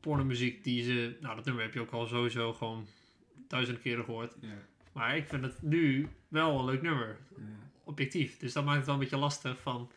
Speaker 2: pornomuziek die ze... Nou, dat nummer heb je ook al sowieso gewoon duizenden keren gehoord.
Speaker 1: Ja.
Speaker 2: Maar ik vind het nu wel een leuk nummer.
Speaker 1: ja.
Speaker 2: Objectief. Dus dat maakt het wel een beetje lastig van...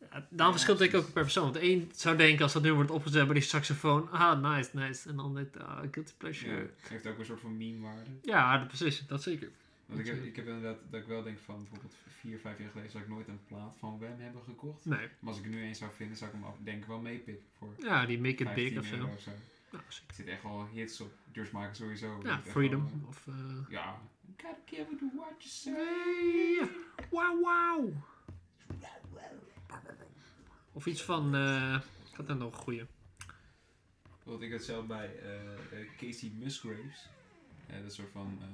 Speaker 2: Ja, daarom
Speaker 1: Ja,
Speaker 2: verschilt ik ook
Speaker 1: precies.
Speaker 2: per persoon. Want de een zou denken als dat nummer wordt opgezet bij die saxofoon... Ah, nice, nice. En dan dit, ah, guilty
Speaker 1: ja.
Speaker 2: pleasure.
Speaker 1: Heeft ook een soort van meme-waarde.
Speaker 2: Ja, dat- precies. Dat zeker.
Speaker 1: Want ik heb,
Speaker 2: Natuurlijk.
Speaker 1: ik heb inderdaad dat ik wel denk van bijvoorbeeld vier, vijf jaar geleden zou ik nooit een plaat van Wem hebben gekocht.
Speaker 2: Nee.
Speaker 1: Maar als ik er nu eens zou vinden, zou ik hem af, denk ik wel meepikken voor
Speaker 2: Ja, die Make It
Speaker 1: 15
Speaker 2: Big of zo.
Speaker 1: euro of zo.
Speaker 2: Nou, zeker.
Speaker 1: Er zitten echt wel hits op. George Michael sowieso. Die
Speaker 2: Ja,
Speaker 1: heeft echt wel,
Speaker 2: Freedom. Of... eh,
Speaker 1: eh, ja. Gotta care what you what you say.
Speaker 2: Hey, eh, Wauw, wauw. Of iets van... eh ik had er nog een goeie.
Speaker 1: Want ik had zelf bij eh, eh, Casey Musgraves. eh, dat soort van eh,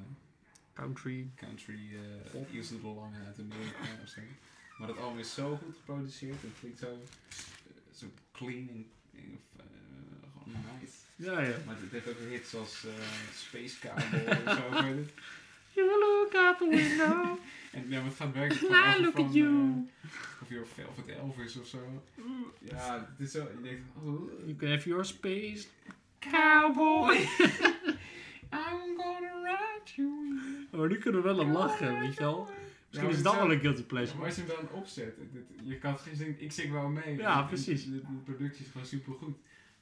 Speaker 2: Country.
Speaker 1: country
Speaker 2: Pop.
Speaker 1: eh Eerst Little Long uit Amerika of zo. Maar dat album is zo goed geproduceerd. Het klinkt zo, eh, zo clean en en, eh, gewoon nice.
Speaker 2: Ja, ja.
Speaker 1: Maar het heeft ook hits als eh, Space Cowboy of zo. weet je.
Speaker 2: You look out the window.
Speaker 1: En ja, maar het gaat werken
Speaker 2: I
Speaker 1: gewoon over
Speaker 2: Ah, look
Speaker 1: van,
Speaker 2: at you.
Speaker 1: eh, of your Velvet Elvis of zo. Ja, het is zo. Je denkt, oh,
Speaker 2: You can have your space, cowboy.
Speaker 1: I'm gonna ride you.
Speaker 2: Maar nu kunnen we wel om lachen, weet je wel. Misschien is dat wel een guilty
Speaker 1: Ja,
Speaker 2: pleasure.
Speaker 1: maar als je hem dan opzet, het- het- je kan het geen zin, ik zing wel mee.
Speaker 2: Ja,
Speaker 1: En- en
Speaker 2: precies.
Speaker 1: De, de productie is gewoon supergoed.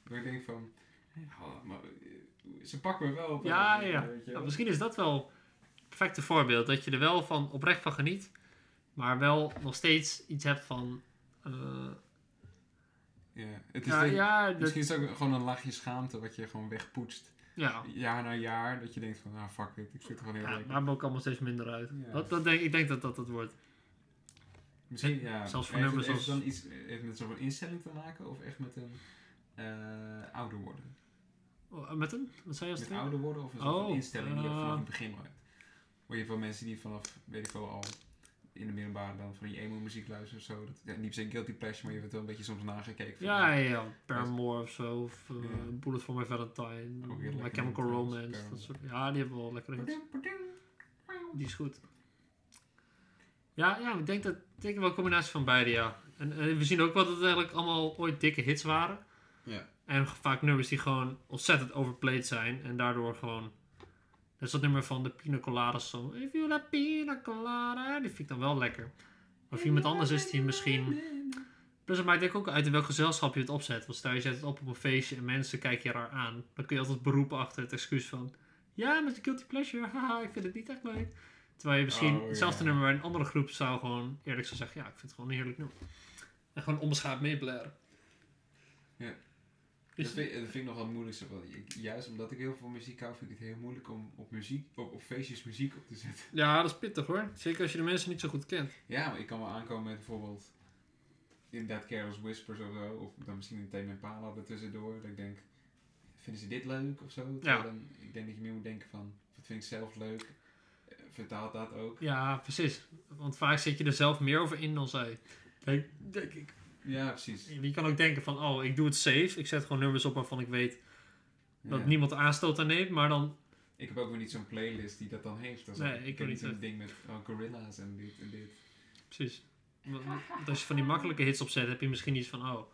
Speaker 1: Maar ik denk van, ja, maar eh, ze pakken me wel op. een
Speaker 2: Ja,
Speaker 1: manier,
Speaker 2: ja.
Speaker 1: weet je
Speaker 2: Nou,
Speaker 1: wel.
Speaker 2: misschien is dat wel het perfecte voorbeeld. Dat je er wel van oprecht van geniet. Maar wel nog steeds iets hebt van... eh,
Speaker 1: Ja, het is
Speaker 2: ja,
Speaker 1: denk-
Speaker 2: ja, dat-
Speaker 1: Misschien is het ook gewoon een lachje schaamte wat je gewoon wegpoetst.
Speaker 2: ja.
Speaker 1: Jaar na jaar, dat je denkt van, nou fuck it, ik zit er gewoon heel
Speaker 2: ja
Speaker 1: lekker.
Speaker 2: maar ook allemaal steeds minder uit.
Speaker 1: Ja.
Speaker 2: Dat, dat denk, ik denk dat dat het wordt.
Speaker 1: Misschien, ja.
Speaker 2: Zelfs voor
Speaker 1: heeft,
Speaker 2: nummers
Speaker 1: heeft het
Speaker 2: als-
Speaker 1: dan iets heeft het met zo'n instelling te maken of echt met een eh, ouder worden?
Speaker 2: Oh, Met een? Wat zei je als
Speaker 1: Met
Speaker 2: tweede?
Speaker 1: ouder worden of een soort van
Speaker 2: Oh,
Speaker 1: instelling die je
Speaker 2: eh.
Speaker 1: vanaf het begin al hebt? Hoor je van mensen die vanaf, weet ik wel, al in de middelbare dan van die emo muziek luisteren of zo. Dat, ja, niet per se guilty pleasure, maar je wordt wel een beetje soms nagekeken. van, eh,
Speaker 2: Ja, ja, ja. Paramore of zo. Of eh,
Speaker 1: Ja.
Speaker 2: Bullet for My Valentine.
Speaker 1: Ook heel lekker
Speaker 2: My Chemical
Speaker 1: nummer trouwens,
Speaker 2: Romance. Dat
Speaker 1: Paramore.
Speaker 2: soort, ja, die hebben wel lekkere hits.
Speaker 1: "Padum, padum, wauw."
Speaker 2: Die is goed. Ja, ja ik denk dat ik denk wel een combinatie van beide, ja. En, en we zien ook wel dat het eigenlijk allemaal ooit dikke hits waren.
Speaker 1: Ja.
Speaker 2: En vaak nummers die gewoon ontzettend overplayed zijn. En daardoor gewoon... Dat is dat nummer van de Pina Colada song. If you like Pina Colada. Die vind ik dan wel lekker. Of iemand anders is die misschien... Plus het maakt denk ik ook uit in welk gezelschap je het opzet. Want stel je zet het op op een feestje en mensen kijken je raar aan. Dan kun je altijd beroepen achter het excuus van... Ja, met guilty pleasure. Haha, ik vind het niet echt leuk. Terwijl je misschien
Speaker 1: Oh,
Speaker 2: hetzelfde
Speaker 1: ja.
Speaker 2: nummer bij een andere groep zou gewoon eerlijk zou zeggen... Ja, ik vind het gewoon een heerlijk nummer. En gewoon onbeschaamd meeblaren.
Speaker 1: Ja.
Speaker 2: Dus-
Speaker 1: Dat vind, dat vind ik nog wel het moeilijkste. Want ik- juist omdat ik heel veel muziek hou, vind ik het heel moeilijk om op, muziek, op, op feestjes muziek op te zetten.
Speaker 2: ja, dat is pittig hoor. Zeker als je de mensen niet zo goed kent.
Speaker 1: Ja, maar ik kan wel aankomen met bijvoorbeeld inderdaad Carol's Whispers of zo. Of dan misschien een Tame Impala ertussendoor. Dat ik denk, vinden ze dit leuk of zo? Terwijl Dan, ik denk dat je meer moet denken van, wat vind ik zelf leuk? Eh, Vertaalt dat ook?
Speaker 2: Ja, precies. Want vaak zit je er zelf meer over in dan zij. Denk, denk ik.
Speaker 1: Ja, precies.
Speaker 2: Je kan ook denken van, oh, ik doe het safe. Ik zet gewoon nummers op waarvan ik weet dat
Speaker 1: Ja.
Speaker 2: niemand aanstoot aan neemt. Maar dan,
Speaker 1: Ik heb ook weer niet zo'n playlist die dat dan heeft. Dat is
Speaker 2: Nee,
Speaker 1: ook-
Speaker 2: ik
Speaker 1: heb
Speaker 2: ook
Speaker 1: niet
Speaker 2: niet eh.
Speaker 1: zo'n ding met oh, gorilla's en dit en dit.
Speaker 2: precies. Want- want Als je van die makkelijke hits opzet, heb je misschien iets van, oh,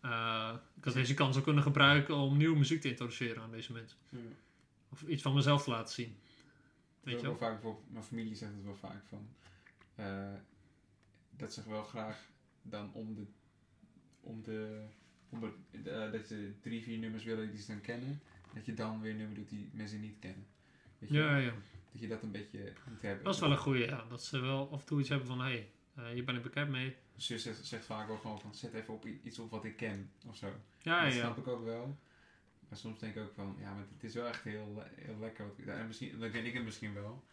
Speaker 2: eh, ik had deze kans ook kunnen gebruiken om nieuwe muziek te introduceren aan deze mensen. Of iets van mezelf te laten zien. Weet je
Speaker 1: Terwijl
Speaker 2: wel?
Speaker 1: ik wel vaak bijvoorbeeld, mijn familie zegt het wel vaak van eh, dat ze wel graag dan om de om de, om de eh, dat ze drie, vier nummers willen die ze dan kennen, dat je dan weer een nummer doet die mensen niet kennen. Weet je,
Speaker 2: Ja,
Speaker 1: wel?
Speaker 2: ja.
Speaker 1: dat je dat een beetje moet hebben.
Speaker 2: Dat is wel een goeie, ja. Dat ze wel af en toe iets hebben van, hé, hey, eh, hier ben ik bekend mee.
Speaker 1: Mijn zus zegt, zegt vaak wel gewoon van zet even op i- iets op wat ik ken of zo.
Speaker 2: Ja,
Speaker 1: dat
Speaker 2: ja.
Speaker 1: snap ik ook wel. Maar soms denk ik ook van, ja, maar het is wel echt heel, le- heel lekker. Wat, ik- ja, en misschien, dan ken ik het misschien wel.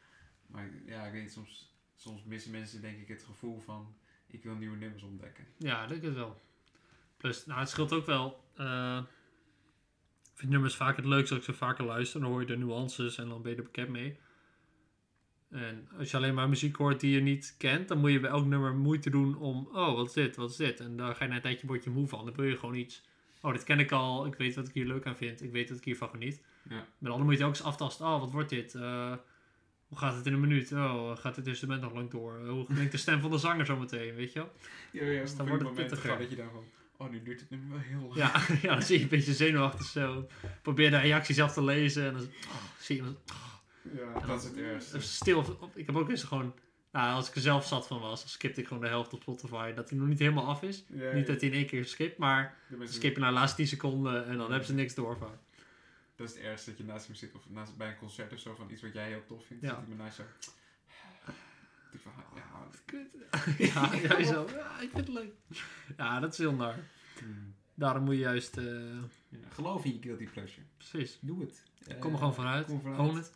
Speaker 1: Maar ik- ja, ik weet niet, soms, soms missen mensen denk ik het gevoel van, ik wil nieuwe nummers ontdekken.
Speaker 2: Ja, dat denk het wel. Plus, nou, het scheelt ook wel. eh, ik vind nummers vaak het leukste als ik ze vaker luister. Dan hoor je de nuances en dan ben je er bekend mee. En als je alleen maar muziek hoort die je niet kent, dan moet je bij elk nummer moeite doen om, oh, wat is dit, wat is dit? En daar ga je na een tijdje word je moe van. Dan wil je gewoon iets, oh, dit ken ik al, ik weet wat ik hier leuk aan vind, ik weet dat ik hiervan geniet.
Speaker 1: Ja.
Speaker 2: Maar dan moet je het ook eens aftasten, oh, wat wordt dit? Eh, hoe gaat het in een minuut? Oh, gaat dit instrument nog lang door? Hoe klinkt de stem van de zanger zometeen, weet je wel?
Speaker 1: Ja, ja,
Speaker 2: Dus dan wordt het pittiger.
Speaker 1: Dat je dan van, oh, nu duurt het nummer wel heel lang.
Speaker 2: Ja, ja, dan zie je een beetje zenuwachtig zo. Probeer de reacties af te lezen en dan oh, zie je iemand
Speaker 1: Ja, dat is het
Speaker 2: Dus
Speaker 1: ergste.
Speaker 2: stil. Ik heb ook eens gewoon, nou, als ik er zelf zat van was, dan skipte ik gewoon de helft op Spotify. Dat hij nog niet helemaal af is.
Speaker 1: Ja,
Speaker 2: Niet
Speaker 1: ja,
Speaker 2: dat hij in één keer skipt, maar
Speaker 1: de mensen-
Speaker 2: skippen naar de laatste 10 seconden en dan hebben ze niks door van.
Speaker 1: Dat is het ergste, dat je naast hem zit, of naast, bij een concert of zo, van iets wat jij heel tof vindt,
Speaker 2: Ja.
Speaker 1: zit iemand naast jou. Ik denk van, ja,
Speaker 2: Kut. Ja, ja, zo. Ja, ik vind het leuk. Ja, dat is heel naar.
Speaker 1: hmm.
Speaker 2: Daarom moet je juist, eh,
Speaker 1: Ja, geloof in je guilty pleasure.
Speaker 2: precies.
Speaker 1: Doe het. Eh,
Speaker 2: Kom er gewoon vanuit.
Speaker 1: kom vanuit.
Speaker 2: Own het.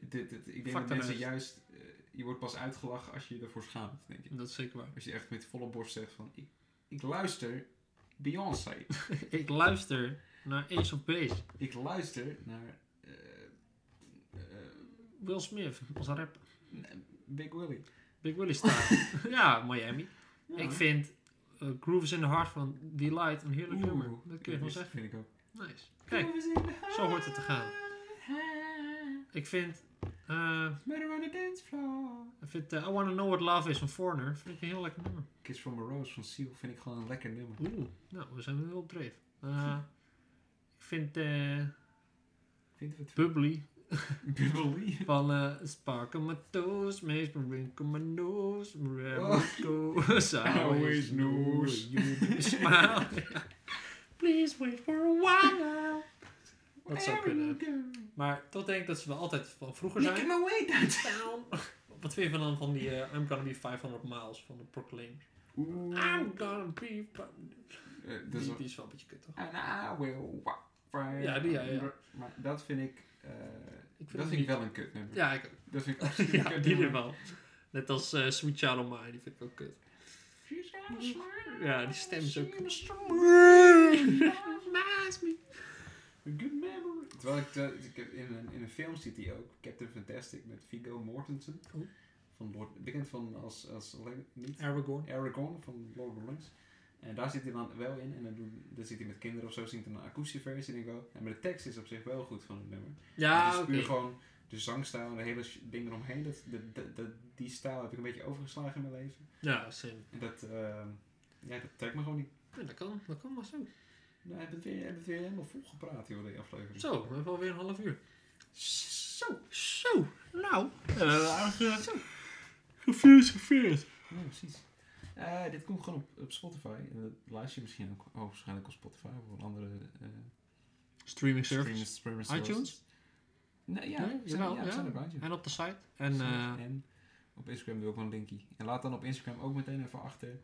Speaker 1: Dit, dit- ik denk
Speaker 2: Fuck
Speaker 1: dat mensen
Speaker 2: daaruit.
Speaker 1: juist... eh, je wordt pas uitgelachen als je je ervoor schaamt, denk ik.
Speaker 2: Dat is zeker waar.
Speaker 1: Als je echt met volle borst zegt van... Ik, ik luister Beyoncé.
Speaker 2: Ik luister naar Ace of Base.
Speaker 1: Ik luister naar eh, eh,
Speaker 2: Will Smith als rapper.
Speaker 1: Big Willy.
Speaker 2: Big Willie staat. ja, Miami.
Speaker 1: Ja.
Speaker 2: Ik vind eh, Grooves in the Heart van Delight een heerlijk
Speaker 1: Oeh,
Speaker 2: nummer. Dat kun je wel
Speaker 1: dit
Speaker 2: zeggen.
Speaker 1: Vind ik ook.
Speaker 2: Nice. Kijk, zo hoort het te gaan. ik vind, eh,
Speaker 1: Murder on the dance floor.
Speaker 2: ik vind eh, I Wanna Know What Love Is van Foreigner. Vind ik een heel lekker nummer.
Speaker 1: Kiss from a Rose van Seal vind ik gewoon een lekker nummer.
Speaker 2: Oeh, nou, we zijn weer op dreef. Eh, ik vind eh
Speaker 1: Vinden we het
Speaker 2: Bubbly
Speaker 1: Bubbly?
Speaker 2: van eh Spark on my toes, makes me wrinkle my nose, wherever
Speaker 1: Oh.
Speaker 2: it goes, I always know
Speaker 1: knows.
Speaker 2: you do smile. Please wait for a while. Dat zou kunnen. Maar toch denk ik dat ze wel altijd van vroeger
Speaker 1: Look at
Speaker 2: zijn.
Speaker 1: my way down.
Speaker 2: Wat vind je van dan van die eh, I'm gonna be 500 miles van de Proclaim? I'm gonna be...
Speaker 1: Eh, dat
Speaker 2: Die,
Speaker 1: is
Speaker 2: die is wel een beetje kut toch?
Speaker 1: And I will walk right
Speaker 2: Ja, die, ja, ja.
Speaker 1: under- Maar dat vind ik... eh,
Speaker 2: vind
Speaker 1: dat
Speaker 2: het
Speaker 1: vind ik
Speaker 2: niet-
Speaker 1: wel een kutnummer.
Speaker 2: Ja, ik,
Speaker 1: Dat vind ik absoluut een
Speaker 2: ja die
Speaker 1: kutnummer.
Speaker 2: er wel. Net als eh, Sweet Child of Mine, die vind ik ook kut. Ja, die stem is ook...
Speaker 1: Good memory. Terwijl ik, terwijl ik heb in, een, in een film zit die ook, Captain Fantastic met Viggo Mortensen.
Speaker 2: Oh.
Speaker 1: Van Lord, bekend van als, als alleen niet
Speaker 2: Aragorn.
Speaker 1: Aragorn van Lord of the Rings. En daar zit hij dan wel in. En dan, doen- dan zit hij met kinderen of zo, zingt hij een akoestische versie. En ik wel. En maar de tekst is op zich wel goed van het nummer. het is
Speaker 2: Ja, oké.
Speaker 1: puur gewoon de zangstijl en de hele sh- ding eromheen. Dat, dat, dat, dat- die stijl heb ik een beetje overgeslagen in mijn leven.
Speaker 2: Ja, same.
Speaker 1: En dat, ehm, ja, dat trekt me gewoon niet.
Speaker 2: Ja, dat kan, dat kan maar zo.
Speaker 1: Nou, heb het weer, heb het weer helemaal vol gepraat, joh, die aflevering.
Speaker 2: Zo, we hebben alweer een half uur. Zo, zo. Nou, we hebben aardig eh, gefilosofeerd.
Speaker 1: Ja, precies. Eh, dit komt gewoon op, op Spotify. En dat luister je misschien ook oh, waarschijnlijk op Spotify of op een andere eh
Speaker 2: Streaming
Speaker 1: streaming-
Speaker 2: service.
Speaker 1: streaming service.
Speaker 2: iTunes?
Speaker 1: Nee, ja,
Speaker 2: Nee,
Speaker 1: zijn-
Speaker 2: jawel,
Speaker 1: ja,
Speaker 2: ja.
Speaker 1: zijn op iTunes.
Speaker 2: En op de site. En eh,
Speaker 1: Zijn- en op Instagram doe ik wel een linkie. En laat dan op Instagram ook meteen even achter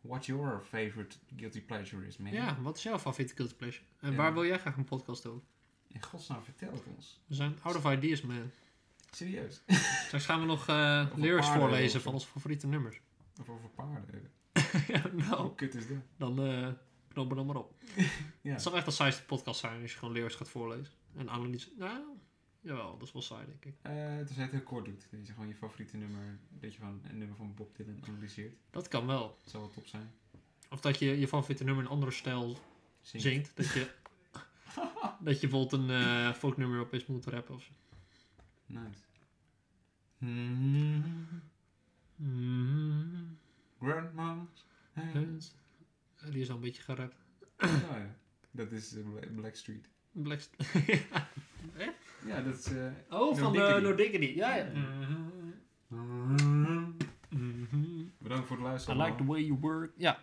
Speaker 1: what your favorite guilty pleasure is, man.
Speaker 2: ja, wat is jouw favoriete guilty pleasure? En
Speaker 1: Ja.
Speaker 2: waar wil jij graag een podcast over?
Speaker 1: In godsnaam, vertel het ons.
Speaker 2: We zijn out of ideas, man.
Speaker 1: Serieus.
Speaker 2: Straks gaan we nog eh,
Speaker 1: Of een
Speaker 2: lyrics
Speaker 1: paarden
Speaker 2: voorlezen
Speaker 1: of zo.
Speaker 2: van onze favoriete nummers.
Speaker 1: Of over paarden.
Speaker 2: ja, nou,
Speaker 1: Hoe kut is dat?
Speaker 2: dan eh knoppen we dan maar op.
Speaker 1: Ja.
Speaker 2: Het zal echt een saaiste podcast zijn als je gewoon lyrics gaat voorlezen. En analyse. Nou, jawel, dat is wel saai, denk ik.
Speaker 1: Eh, dus hij het heel kort doet. Dat je gewoon je favoriete nummer, dat je gewoon een nummer van Bob Dylan analyseert.
Speaker 2: Dat kan wel.
Speaker 1: Dat zou wel top zijn.
Speaker 2: Of dat je je favoriete nummer in een andere stijl
Speaker 1: Zing.
Speaker 2: zingt. Dat je, dat je bijvoorbeeld een eh, folknummer op is moet rappen of zo.
Speaker 1: Nice.
Speaker 2: Mm-hmm.
Speaker 1: Hmm. Mm-hmm.
Speaker 2: Mm,
Speaker 1: Grandma's hands.
Speaker 2: eh, Die is al een beetje gerapt.
Speaker 1: Oh, ja. Dat is eh, Bla- Blackstreet.
Speaker 2: Black St-
Speaker 1: Ja, dat is... eh,
Speaker 2: oh, van
Speaker 1: Diggity.
Speaker 2: de No Diggity. Ja, ja.
Speaker 1: Ja.
Speaker 2: Mhm. Mhm.
Speaker 1: Bedankt voor het
Speaker 2: I
Speaker 1: luisteren.
Speaker 2: like the
Speaker 1: allemaal.
Speaker 2: way you work. Ja.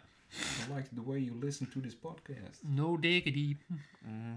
Speaker 1: I like the way you listen to this podcast.
Speaker 2: No Diggity.
Speaker 1: Mhm.